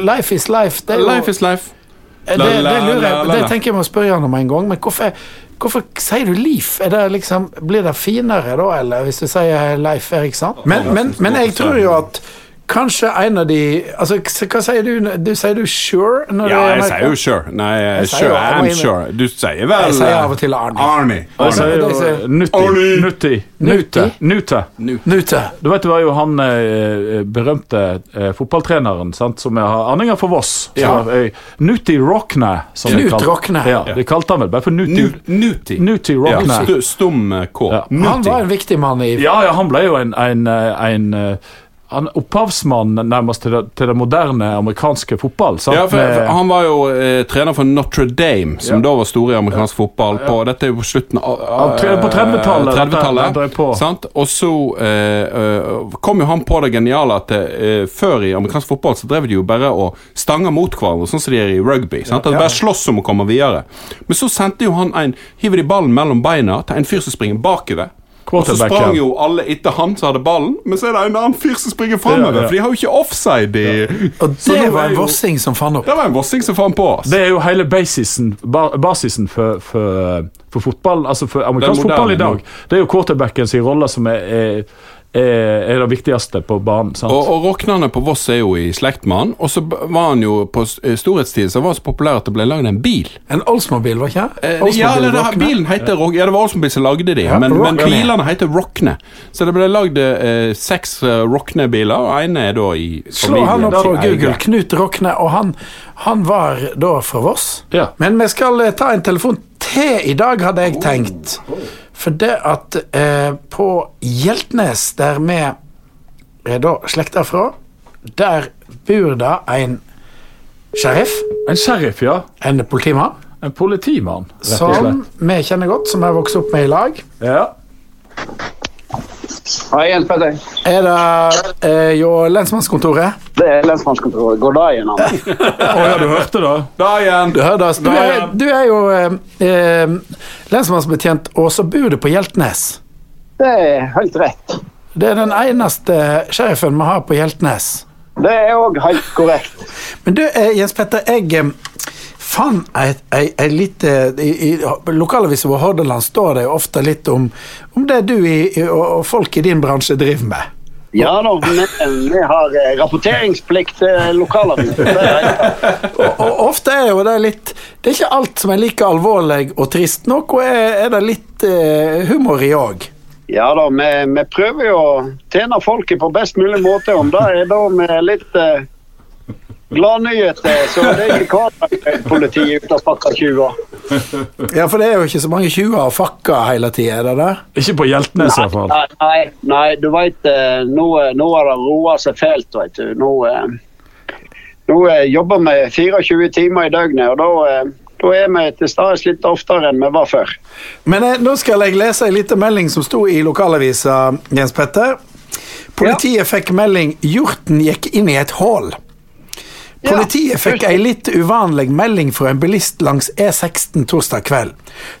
[SPEAKER 2] Life is life. Det, er jo, Eh,
[SPEAKER 1] Life is life.
[SPEAKER 2] det,
[SPEAKER 1] la,
[SPEAKER 2] det,
[SPEAKER 1] la,
[SPEAKER 2] lurer
[SPEAKER 1] la,
[SPEAKER 2] jeg
[SPEAKER 1] la,
[SPEAKER 2] Det
[SPEAKER 1] la.
[SPEAKER 2] tenker jeg må spørre han om en gang. Men hvorfor, hvorfor sier du Leif? Er det liksom, blir det finere da, eller hvis du sier Leif Eriksson? Men, men, men jeg tror jo at Kanskje en av de altså, Hva sier du? Du Sier du sure? Når
[SPEAKER 1] Ja,
[SPEAKER 2] du er
[SPEAKER 1] jeg
[SPEAKER 2] i
[SPEAKER 1] sier jo
[SPEAKER 2] Amerika?
[SPEAKER 1] sure. Nei, eh,
[SPEAKER 2] Jeg sier
[SPEAKER 1] sure,
[SPEAKER 2] jo
[SPEAKER 1] I'm
[SPEAKER 2] Arne.
[SPEAKER 1] sure. Du sier vel
[SPEAKER 2] Jeg sier
[SPEAKER 1] eh,
[SPEAKER 2] av og til Arne.
[SPEAKER 1] Arne.
[SPEAKER 3] Jeg
[SPEAKER 1] Arne.
[SPEAKER 2] Det
[SPEAKER 3] sier
[SPEAKER 2] er
[SPEAKER 3] jo
[SPEAKER 2] så-
[SPEAKER 3] Nutti.
[SPEAKER 1] Arne.
[SPEAKER 3] Nutti. Nute.
[SPEAKER 2] Nutti?
[SPEAKER 3] Nute.
[SPEAKER 2] Nute.
[SPEAKER 3] Du vet, det var jo han eh, berømte eh, fotballtreneren sant, som jeg har anninger for Voss. som
[SPEAKER 2] Ja.
[SPEAKER 3] var, eh, Nutti Rockne. Som
[SPEAKER 2] Knut
[SPEAKER 3] de kalte-
[SPEAKER 2] Rockne.
[SPEAKER 3] Ja, de kalte han vel bare for Nutti,
[SPEAKER 1] Nu- Nuti.
[SPEAKER 3] Nutti
[SPEAKER 1] Ja,
[SPEAKER 3] Rockne.
[SPEAKER 1] stu- stum eh, K.
[SPEAKER 3] Ja.
[SPEAKER 2] Han
[SPEAKER 1] Nuti.
[SPEAKER 2] var en viktig mann i
[SPEAKER 3] Ja, ja, han ble jo en, en, eh, en eh, han opphavsmann nærmest til det, til det moderne amerikanske fotball. Sant?
[SPEAKER 1] Ja, for, for
[SPEAKER 3] altså. Med-
[SPEAKER 1] Han var jo eh, trener for Notre Dame, som da var store i amerikansk fotball. På, dette er jo på slutten av, eh,
[SPEAKER 3] Av tre- på 30-tallet, den- den drev på.
[SPEAKER 1] sant? Og så eh, eh, kom jo han på det geniale at eh, før i amerikansk fotball så drev de jo bare og stanga mot hverandre, sånn som de gjør i rugby. Sant? At de bare slåss om å komme videre. Men så sendte jo han en Hiver de ballen mellom beina til en fyr som springer bakover. Og så
[SPEAKER 3] Quarterbacken.
[SPEAKER 1] sprang jo alle etter han som hadde ballen, men så er det en annen fyr som springer framover.
[SPEAKER 3] ja.
[SPEAKER 1] For de har jo ikke offside i
[SPEAKER 2] Og
[SPEAKER 1] Så
[SPEAKER 2] det
[SPEAKER 1] nå er
[SPEAKER 2] var en
[SPEAKER 1] jo-
[SPEAKER 2] vossing som fant opp.
[SPEAKER 1] Det var en vossing som fant på oss.
[SPEAKER 3] Det er jo hele basisen, ba- basisen for, for, eh, for fotball, altså for amerikansk
[SPEAKER 1] moderne
[SPEAKER 3] fotball i
[SPEAKER 1] nå.
[SPEAKER 3] dag. Det er jo quarterbacken sin rolle som er, er, er, er det viktigste på banen. sant?
[SPEAKER 1] Og, og Roknane på Voss er jo i slekt med han, og så b- var han jo på s- eh, storhetstid så var han så populær at det ble lagd en bil.
[SPEAKER 2] En Oldsmobil, var ikke det?
[SPEAKER 1] Eh, ja, eller det, her-
[SPEAKER 2] Rockne.
[SPEAKER 1] bilen heter Rock, ja, det var Olsenbil som lagde de,
[SPEAKER 2] Ja,
[SPEAKER 1] men, men
[SPEAKER 2] Rockne.
[SPEAKER 1] bilene heter Rockne. Så det ble lagd eh, seks eh, Rockne-biler, og ene er da i
[SPEAKER 2] Slå han opp på
[SPEAKER 1] familien til
[SPEAKER 2] Google,
[SPEAKER 1] eier.
[SPEAKER 2] Knut Rokne, og han, han var da fra Voss.
[SPEAKER 3] Ja.
[SPEAKER 2] Men vi skal eh, ta en telefon til i dag, hadde jeg tenkt. For det at eh, på Hjeltnes, der vi er da slekta fra, der bor det en sheriff,
[SPEAKER 3] En sheriff, ja.
[SPEAKER 2] en politimann,
[SPEAKER 3] En politimann, rett og
[SPEAKER 2] som
[SPEAKER 3] slett.
[SPEAKER 2] vi kjenner godt, som jeg vokste opp med i lag.
[SPEAKER 3] Ja.
[SPEAKER 5] Hei, Jens Petter.
[SPEAKER 2] Er det eh, jo lensmannskontoret?
[SPEAKER 5] Det er lensmannskontoret. God dag, Jan Arne.
[SPEAKER 3] Å ja, du hørte det?
[SPEAKER 1] Da igjen!
[SPEAKER 2] Du, hører det, du, er, du er jo eh, eh, lensmannsbetjent, og så bor du på Hjeltnes.
[SPEAKER 5] Det er helt rett.
[SPEAKER 2] Det er den eneste sheriffen vi har på Hjeltnes.
[SPEAKER 5] Det er òg helt korrekt.
[SPEAKER 2] Men du, eh, Jens Petter, jeg eh, fant et, ei, ei lite I, eh, i lokalavisa vår Hordaland står det jo ofte litt om, om det du i, i, og og folk i din bransje driver med.
[SPEAKER 5] Ja da, vi, vi har eh, rapporteringsplikt til lokalavisen. Det er helt-
[SPEAKER 2] Og, og ofte er jo det litt Det er ikke alt som er like alvorlig og trist. Noe er, er det litt eh, humor i òg.
[SPEAKER 5] Ja da, vi, vi prøver jo å tjene folket på best mulig måte. Om det er da med litt eh, gladnyheter, så det er ikke hverdagspolitiet ute og sparker 20.
[SPEAKER 2] Ja, for det er jo ikke så mange 20 og fakka hele tida, er det det?
[SPEAKER 3] Ikke på Hjeltnes, i hvert fall.
[SPEAKER 5] Nei, nei, nei, du veit nå, eh, nå har det roa seg fælt, veit du. Nå, eh, nå eh, jobber vi 24 timer i døgnet, og da, eh, da er vi til stades litt oftere enn vi var før.
[SPEAKER 2] Men eh, nå skal jeg lese en liten melding som sto i lokalavisa, Jens Petter. Politiet fikk melding 'Hjorten gikk inn i et hull'. Politiet fikk ei litt uvanlig melding fra en bilist langs E16 torsdag kveld.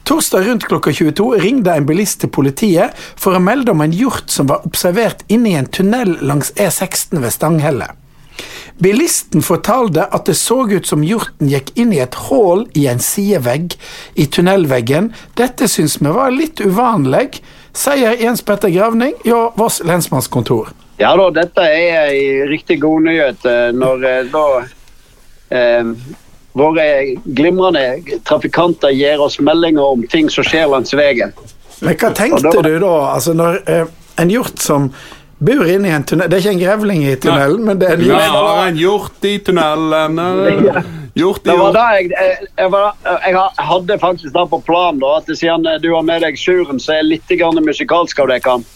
[SPEAKER 2] Torsdag rundt klokka 22 ringte en bilist til politiet for å melde om en hjort som var observert inne i en tunnel langs E16 ved Stanghelle. Bilisten fortalte at det så ut som hjorten gikk inn i et hull i en sidevegg i tunnelveggen. Dette syns vi var litt uvanlig, sier Jens Petter Gravning hjå Voss lensmannskontor.
[SPEAKER 5] Ja da, dette er ei riktig god nyhet eh, når eh, da eh, våre glimrende trafikanter gir oss meldinger om ting som skjer langs veien.
[SPEAKER 2] Men hva tenkte
[SPEAKER 5] Og det var-
[SPEAKER 2] du da, altså når eh, en hjort som bor inne i en tunnel Det er ikke en grevling i tunnelen, men det er en
[SPEAKER 1] Ja,
[SPEAKER 2] hjort.
[SPEAKER 1] har en hjort i tunnelen. eh, Hjort i
[SPEAKER 5] Det var
[SPEAKER 1] hjort.
[SPEAKER 5] da jeg, jeg, jeg, var, jeg hadde faktisk det på planen, da, at siden eh, du har med deg Sjuren, så er jeg litt grann musikalsk av deg, Kam.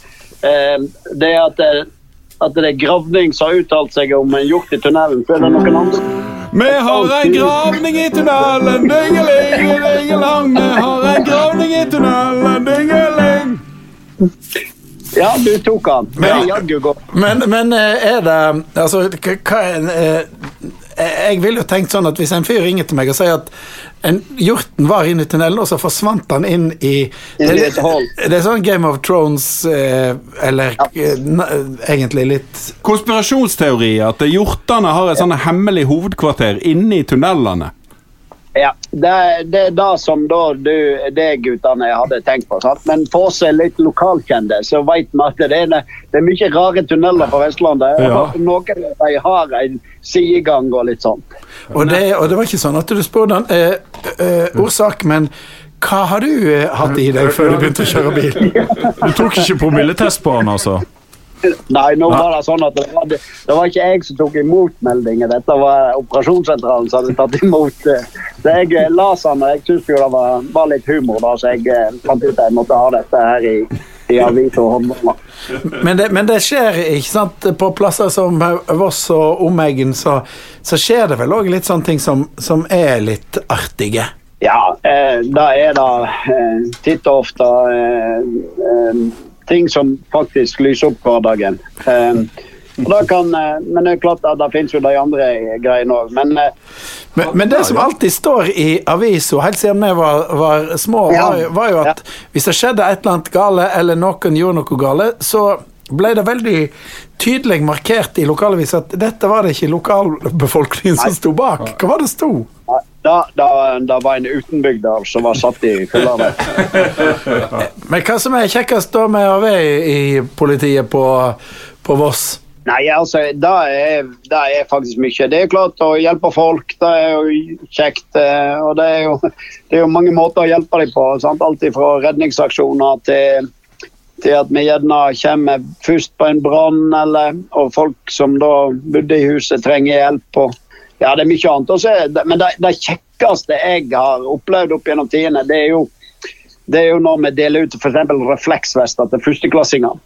[SPEAKER 5] Eh, Det er at, eh, at det er Gravning som har uttalt seg om en hjort i tunnelen. Så er det noen andre.
[SPEAKER 1] Vi har en gravning i tunnelen, dingeling, dingelang. Vi har en gravning i tunnelen, dingeling.
[SPEAKER 5] Ja, du tok han. Det er jaggu godt.
[SPEAKER 2] Men, men eh, er det Altså, hva hva er en, eh, Jeg ville jo tenkt sånn at hvis en fyr ringer til meg og sier at en, hjorten var inne i tunnelen, og så forsvant han inn i
[SPEAKER 5] Inn i
[SPEAKER 2] det,
[SPEAKER 5] et hull.
[SPEAKER 2] det er sånn Game of Thrones eh, Eller eh, na- egentlig litt
[SPEAKER 1] Konspirasjonsteori at hjortene har et sånn hemmelig hovedkvarter inne i tunnelene.
[SPEAKER 5] Ja, det, er- det er det som da du, det guttene hadde tenkt på. Sant? Men for oss er litt lokalkjente, så vet vi at det er, det er mye rare tunneler på Vestlandet.
[SPEAKER 3] Ja.
[SPEAKER 5] Og Noen av de har en sidegang og litt sånn.
[SPEAKER 2] og det, og det var ikke sånn at du spurte han eh, eh, orsak, men hva har du eh, hatt i deg før du begynte å kjøre bil?
[SPEAKER 3] Du tok ikke promilletest på han, altså?
[SPEAKER 5] Nei, nå var det sånn at det var, det var ikke jeg som tok imot meldingen. Dette var operasjonssentralen som hadde tatt imot. eh, Så jeg eh, las den, og jeg syntes jo det var, var litt humor, da, så jeg eh, fant ut at jeg måtte ha dette her i, i avis og håndball.
[SPEAKER 2] Men det, men det skjer, ikke sant? På plasser som Voss og omegn, så, så skjer det vel òg litt sånne ting som, som er litt artige.
[SPEAKER 5] Ja, eh, det er da eh, titt og ofte eh, eh, ting som faktisk lyser opp hverdagen. Eh, og da kan, eh, men det er klart at det finnes jo de andre greiene òg. Men eh,
[SPEAKER 2] Men, men det som alltid står i avisa helt siden vi var, var små,
[SPEAKER 5] Ja.
[SPEAKER 2] var, jo- var jo at hvis det skjedde et eller annet gale, eller noen gjorde noe gale, så ble det veldig tydelig markert i lokalavisa at dette var det ikke lokalbefolkningen som sto bak. Hva var det sto?
[SPEAKER 5] da, da, da var en utenbygder som altså, var satt i kullene.
[SPEAKER 2] Men hva som er kjekkest da med å være i politiet på, på Voss?
[SPEAKER 5] Nei, altså, det er, det er faktisk mye. Det er klart å hjelpe folk, det er jo kjekt. eh, Og det er jo, det er jo mange måter å hjelpe dem på. Sant? Alt fra redningsaksjoner til, til at vi gjerne kommer først på en brann, eller og folk som da bodde i huset, trenger hjelp. Og, ja, det er mye annet. Og så er det- men det, det kjekkeste jeg har opplevd opp gjennom tidene, det er jo, det er jo når vi deler ut f.eks. refleksvester til førsteklassinger.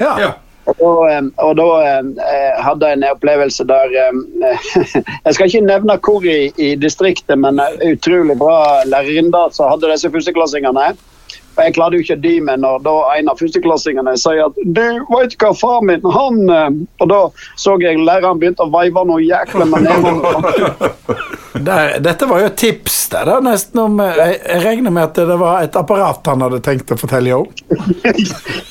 [SPEAKER 2] ja.
[SPEAKER 5] Og, da, eh, og da eh, hadde jeg en opplevelse der eh, Jeg skal ikke nevne hvor i, i distriktet, men eh, utrolig bra lærerinne som hadde disse førsteklassingene. Og jeg klarte jo ikke å dy meg når da en av førsteklassingene sier at du, veit du hva far min, han eh,» Og da så jeg læreren begynte å veive noe jækla med nevene.
[SPEAKER 2] Der, dette var jo et tips der, da, nesten om jeg, jeg regner med at det var et apparat han hadde tenkt å fortelle om.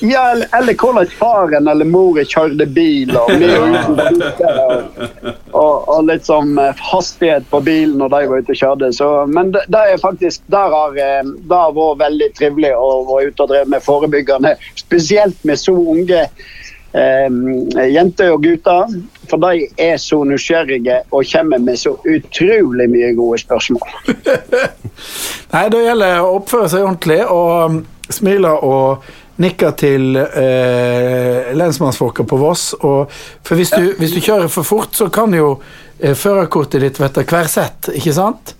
[SPEAKER 5] Ja, eller, eller hvordan faren eller mora kjørte bil, og med og uten bremser, og, og, og litt sånn eh, hastighet på bilen når de var ute og kjørte. Så, men det, det er faktisk, der har eh, det har vært veldig trivelig å være ute og drive med forebyggende, spesielt med så unge eh, jenter og gutter. For de er så nysgjerrige og kommer med så utrolig mye gode spørsmål.
[SPEAKER 2] Nei, det gjelder å oppføre seg ordentlig og mm, smile og nikke til eh, lensmannsfolka på Voss. Og, for hvis du, hvis du kjører for fort, så kan jo eh, førerkortet ditt vette hver sett, ikke sant?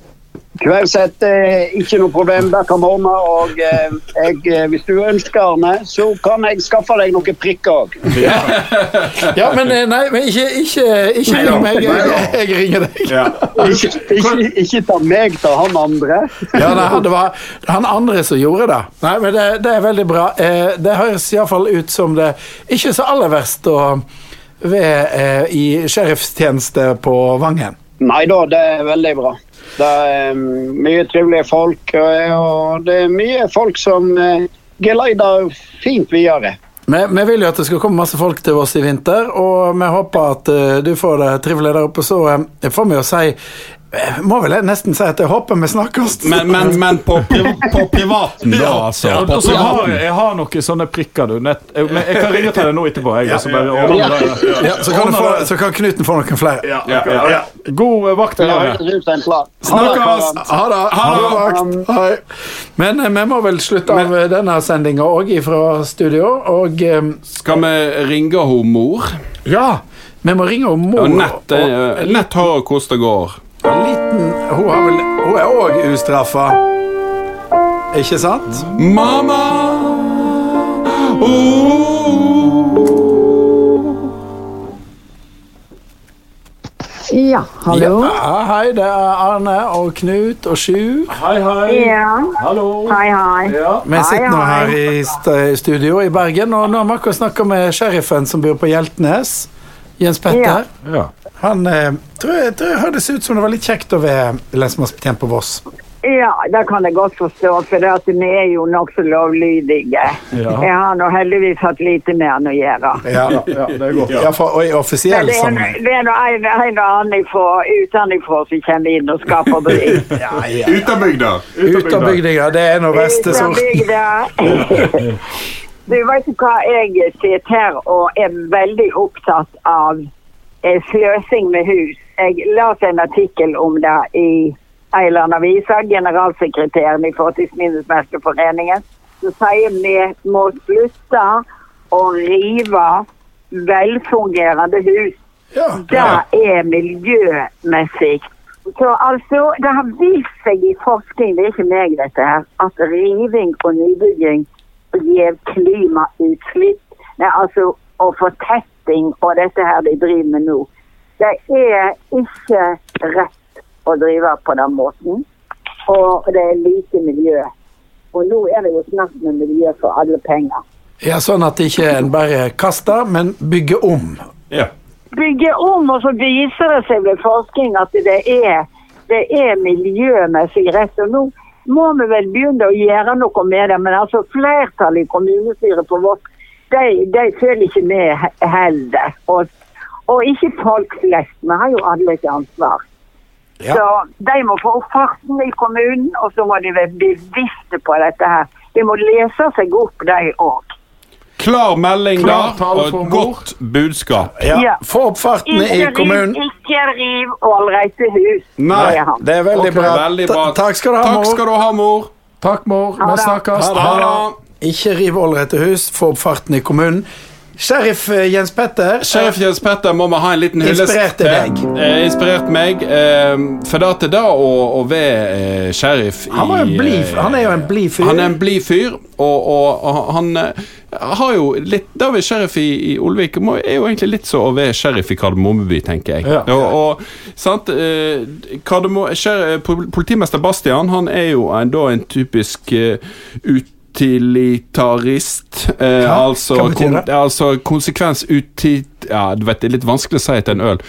[SPEAKER 5] Kveldsett er eh, ikke noe problem. Det kan vi ordne. Og eh, jeg, eh, hvis du ønsker, Arne, så kan jeg skaffe deg noen prikker òg.
[SPEAKER 2] Ja, men eh, nei, men ikke, ikke, ikke ring meg. Jeg, jeg ringer deg.
[SPEAKER 1] Ja.
[SPEAKER 5] Ikke, ikke, ikke ta meg, ta han andre.
[SPEAKER 2] Ja, nei, det var han andre som gjorde det. Nei, men Det, det er veldig bra. Eh, det høres iallfall ut som det ikke så aller verst å være eh, i sheriffstjeneste på Vangen.
[SPEAKER 5] Nei da, det er veldig bra. Det er eh, mye trivelige folk, og, eh, og det er mye folk som eh, geleider fint videre.
[SPEAKER 2] Vi, vi vil jo at det skal komme masse folk til oss i vinter, og vi håper at eh, du får det trivelig der oppe. Så eh, får vi jo si eh, Må vel jeg nesten si at jeg håper vi snakkes.
[SPEAKER 1] Men, men, men på, pri på privaten, da, altså.
[SPEAKER 3] Ja,
[SPEAKER 1] På
[SPEAKER 3] og så har,
[SPEAKER 1] privaten.
[SPEAKER 3] jeg- jeg har noen sånne prikker, du. Nett, jeg, men jeg kan ringe til deg nå etterpå. Jeg, og så bare,
[SPEAKER 1] ja,
[SPEAKER 3] ordner
[SPEAKER 5] ja.
[SPEAKER 3] det.
[SPEAKER 2] ja, så, kan du få, så kan Knuten få noen flere.
[SPEAKER 1] Ja, ja, ja.
[SPEAKER 3] God eh, vakt.
[SPEAKER 5] Det
[SPEAKER 3] Helene.
[SPEAKER 5] høres ut som en plan.
[SPEAKER 1] Snakkes!
[SPEAKER 2] Ha det. Ha det. vakt. Hei. Men eh, vi må vel slutte av eh, denne sendinga òg fra studio, og eh,
[SPEAKER 1] Skal vi ringe hun mor?
[SPEAKER 2] Ja, vi må ringe om mor.
[SPEAKER 1] Og nett,
[SPEAKER 2] og-
[SPEAKER 1] eh, nett hører hvordan det går.
[SPEAKER 2] og en liten, hun, har vel, hun er òg ustraffa. Ikke sant?
[SPEAKER 1] Mamma! Oh.
[SPEAKER 6] Ja, hallo.
[SPEAKER 2] Ja, hei, det er Arne og Knut og Sjur.
[SPEAKER 3] Hei, hei.
[SPEAKER 6] Ja,
[SPEAKER 3] Hallo.
[SPEAKER 6] hei, hei.
[SPEAKER 3] Ja.
[SPEAKER 2] Vi sitter nå
[SPEAKER 6] Hei,
[SPEAKER 2] her
[SPEAKER 6] hei.
[SPEAKER 2] i st- studio i Bergen, og nå har vi akkurat snakka med sheriffen som bor på Hjeltnes. Jens Petter.
[SPEAKER 3] Ja.
[SPEAKER 2] Han eh, tror jeg, tror jeg hørtes ut som det var litt kjekt å være lensmannsbetjent på Voss.
[SPEAKER 6] Ja, det kan jeg godt forstå, for det at vi er jo nokså lovlydige. Jeg har nå heldigvis hatt lite med han å gjøre.
[SPEAKER 2] Ja,
[SPEAKER 3] ja, det er godt.
[SPEAKER 2] ja for, og i
[SPEAKER 6] Men
[SPEAKER 2] offisiell
[SPEAKER 6] det sånn? er,
[SPEAKER 2] sammenheng.
[SPEAKER 6] det er nå en, en og annen ifra- utenifra som kommer inn og skaper bry.
[SPEAKER 1] Ut av bygda.
[SPEAKER 2] Ut av bygninga, det er nå verste sorten.
[SPEAKER 6] Uten bygda. Du vet du hva, jeg sitter her og er veldig opptatt av eh, sløsing med hus. Jeg leste en artikkel om det i Eiland Avisa, generalsekretæren i Fortidsminnesmerkeforeningen, som sier vi må slutte å rive velfungerende hus
[SPEAKER 2] Ja.
[SPEAKER 6] det er miljømessig. Så altså, Det har vist seg i forskning, det er ikke meg dette her, at riving og nybygging gir klimautslipp. Nei, altså, og fortetting og dette her de driver med nå. Det er ikke rett å drive på den måten. Og det er lite miljø. Og nå er det jo snakk med miljø for alle penger.
[SPEAKER 2] Ja, sånn at ikke en bare kaster, men bygger om.
[SPEAKER 1] Ja.
[SPEAKER 6] bygge om, og så viser det seg ved forskning at det er, det er miljømessig rett. Og nå må vi vel begynne å gjøre noe med det, men altså flertallet i kommunestyret på Voss, de, de følger ikke med he- heller. Og, og ikke folk flest. Vi har jo alle et ansvar.
[SPEAKER 2] Ja.
[SPEAKER 6] Så de må få opp farten i kommunen, og så må de være bevisste på dette her. De må lese seg opp, de òg.
[SPEAKER 1] Klar melding
[SPEAKER 3] Klar
[SPEAKER 1] der,
[SPEAKER 3] tale
[SPEAKER 1] og
[SPEAKER 3] for
[SPEAKER 1] et
[SPEAKER 3] mor.
[SPEAKER 1] godt budskap.
[SPEAKER 2] Ja.
[SPEAKER 6] Ja.
[SPEAKER 2] Få opp farten i
[SPEAKER 6] Ikke riv,
[SPEAKER 2] kommunen.
[SPEAKER 6] ikke riv ålreite hus.
[SPEAKER 1] Nei,
[SPEAKER 6] sier han.
[SPEAKER 2] Det er veldig
[SPEAKER 1] Ok,
[SPEAKER 2] bra.
[SPEAKER 1] veldig
[SPEAKER 2] Ta-
[SPEAKER 1] bra.
[SPEAKER 2] Takk skal du ha,
[SPEAKER 1] Takk
[SPEAKER 2] mor.
[SPEAKER 1] skal du ha, mor.
[SPEAKER 3] Takk, mor.
[SPEAKER 6] Ha
[SPEAKER 3] Vi
[SPEAKER 6] det.
[SPEAKER 3] snakkes.
[SPEAKER 1] Ha det.
[SPEAKER 2] Ikke riv ålrete hus, få opp farten i kommunen. Sheriff eh, Jens Petter.
[SPEAKER 1] Sjef Jens Petter må vi ha en liten hyllest
[SPEAKER 2] Inspirerte
[SPEAKER 1] til.
[SPEAKER 2] deg.
[SPEAKER 1] Eh, inspirert meg. Eh, for det at det da å, å være eh, sheriff i
[SPEAKER 2] Han, var jo en blid-
[SPEAKER 1] eh,
[SPEAKER 2] han er jo en blid fyr.
[SPEAKER 1] Han er en blid fyr, og, og, og han eh, har jo litt Det å være sheriff i, i Olvik må- er jo egentlig litt så å være sheriff i Kardemommeby, tenker jeg.
[SPEAKER 3] Ja.
[SPEAKER 1] Og, og sant eh, Kardemo, sher, eh, pol- Politimester Bastian han er jo en, da en typisk eh, utilitarist. Eh,
[SPEAKER 2] Hva?
[SPEAKER 1] altså,
[SPEAKER 2] Hva betyr
[SPEAKER 1] kon-
[SPEAKER 2] det?
[SPEAKER 1] altså konsekvens uti... Ja, du vet, det er litt vanskelig å si etter en øl.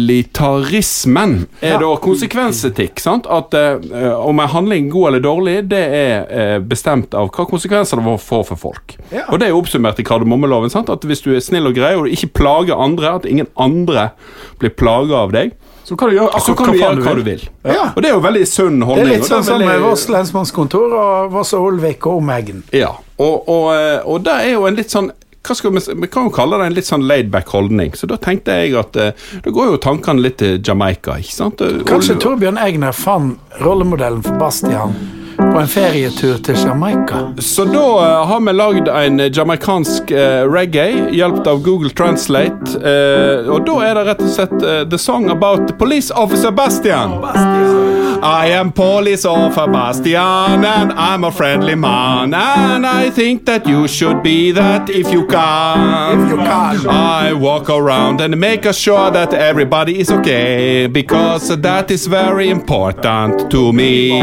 [SPEAKER 1] Utilitarismen er da konsekvensetikk. sant? At eh, om en handling er god eller dårlig, det er eh, bestemt av hva konsekvenser det får for folk.
[SPEAKER 2] Ja.
[SPEAKER 1] Og det er jo oppsummert i kardemommeloven. sant? At hvis du er snill og grei og du ikke plager andre, at ingen andre blir plaga av deg,
[SPEAKER 3] Så kan du gjøre
[SPEAKER 1] Så
[SPEAKER 3] akkurat
[SPEAKER 1] kan du gjøre hva du vil.
[SPEAKER 2] Ja.
[SPEAKER 1] Og det er jo veldig sunn
[SPEAKER 2] Det
[SPEAKER 1] holdning.
[SPEAKER 2] er litt
[SPEAKER 1] og
[SPEAKER 2] sånn som
[SPEAKER 1] veldig-
[SPEAKER 2] med vårt lensmannskontor og Voss og Olvik og omegn.
[SPEAKER 1] Ja, og, og, eh, og det er jo en litt sånn hva skal vi, si- vi kan jo kalle det en litt sånn laidback holdning. Så da tenkte jeg at eh, da går jo tankene litt til Jamaica, ikke sant? Og-
[SPEAKER 2] Kanskje
[SPEAKER 1] og-
[SPEAKER 2] Torbjørn Egner fant rollemodellen for Bastian på en ferietur til Jamaica.
[SPEAKER 1] Så da eh, har vi lagd en jamaicansk eh, reggae, hjulpet av Google Translate. eh, og da er det rett og slett eh, The Song About the Police Officer Bastian. I am police officer Bastian, and I'm a friendly man. And I think that you should be that if you can.
[SPEAKER 2] If you can.
[SPEAKER 1] I walk around and make sure that everybody is okay, because that is very important to me.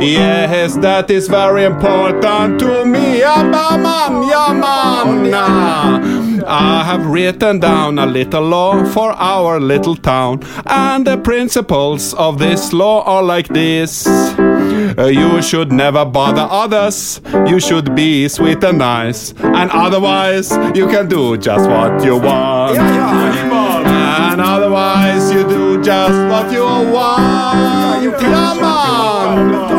[SPEAKER 1] Yes, that is very important to me. Yeah, man, yeah, man. nah. I have written down a little law for our little town, and the principles of this law are like this. Uh, you should never bother others. You should be sweet and nice. And otherwise, you can do just what you want. And otherwise, you do just what you want. Come on!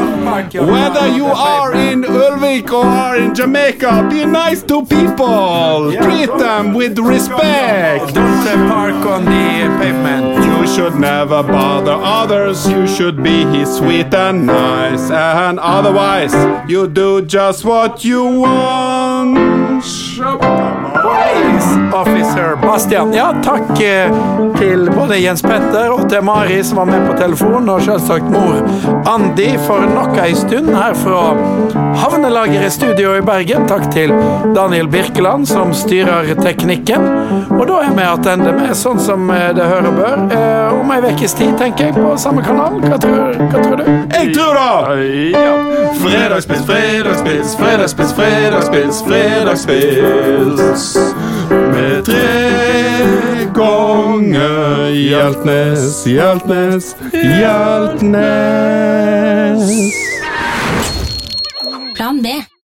[SPEAKER 1] Whether you are in Ulvik or in Jamaica, be nice to people. Treat them with respect.
[SPEAKER 2] Don't uh, park on the pavement.
[SPEAKER 1] You should never bother others. You should be sweet and nice. And otherwise, you do just what you want.
[SPEAKER 2] Police officer Bastian. Ja, takk eh, til både Jens Petter og til Mari som var med på telefon, og selvsagt mor Andi for nok ei stund her fra Havnelageret studio i Bergen. Takk til Daniel Birkeland som styrer teknikken. Og da er vi attende med sånn som eh, det hører bør. Eh, Om ei ukes tid, tenker jeg, på samme kanal. Hva tror, hva tror du?
[SPEAKER 1] Jeg tror da!
[SPEAKER 3] Ja.
[SPEAKER 1] Fredagspils, fredagspils, fredagspils, fredagspils, fredagspils. Med tre ganger Hjeltnes, Hjeltnes, Hjeltnes.
[SPEAKER 7] Plan B.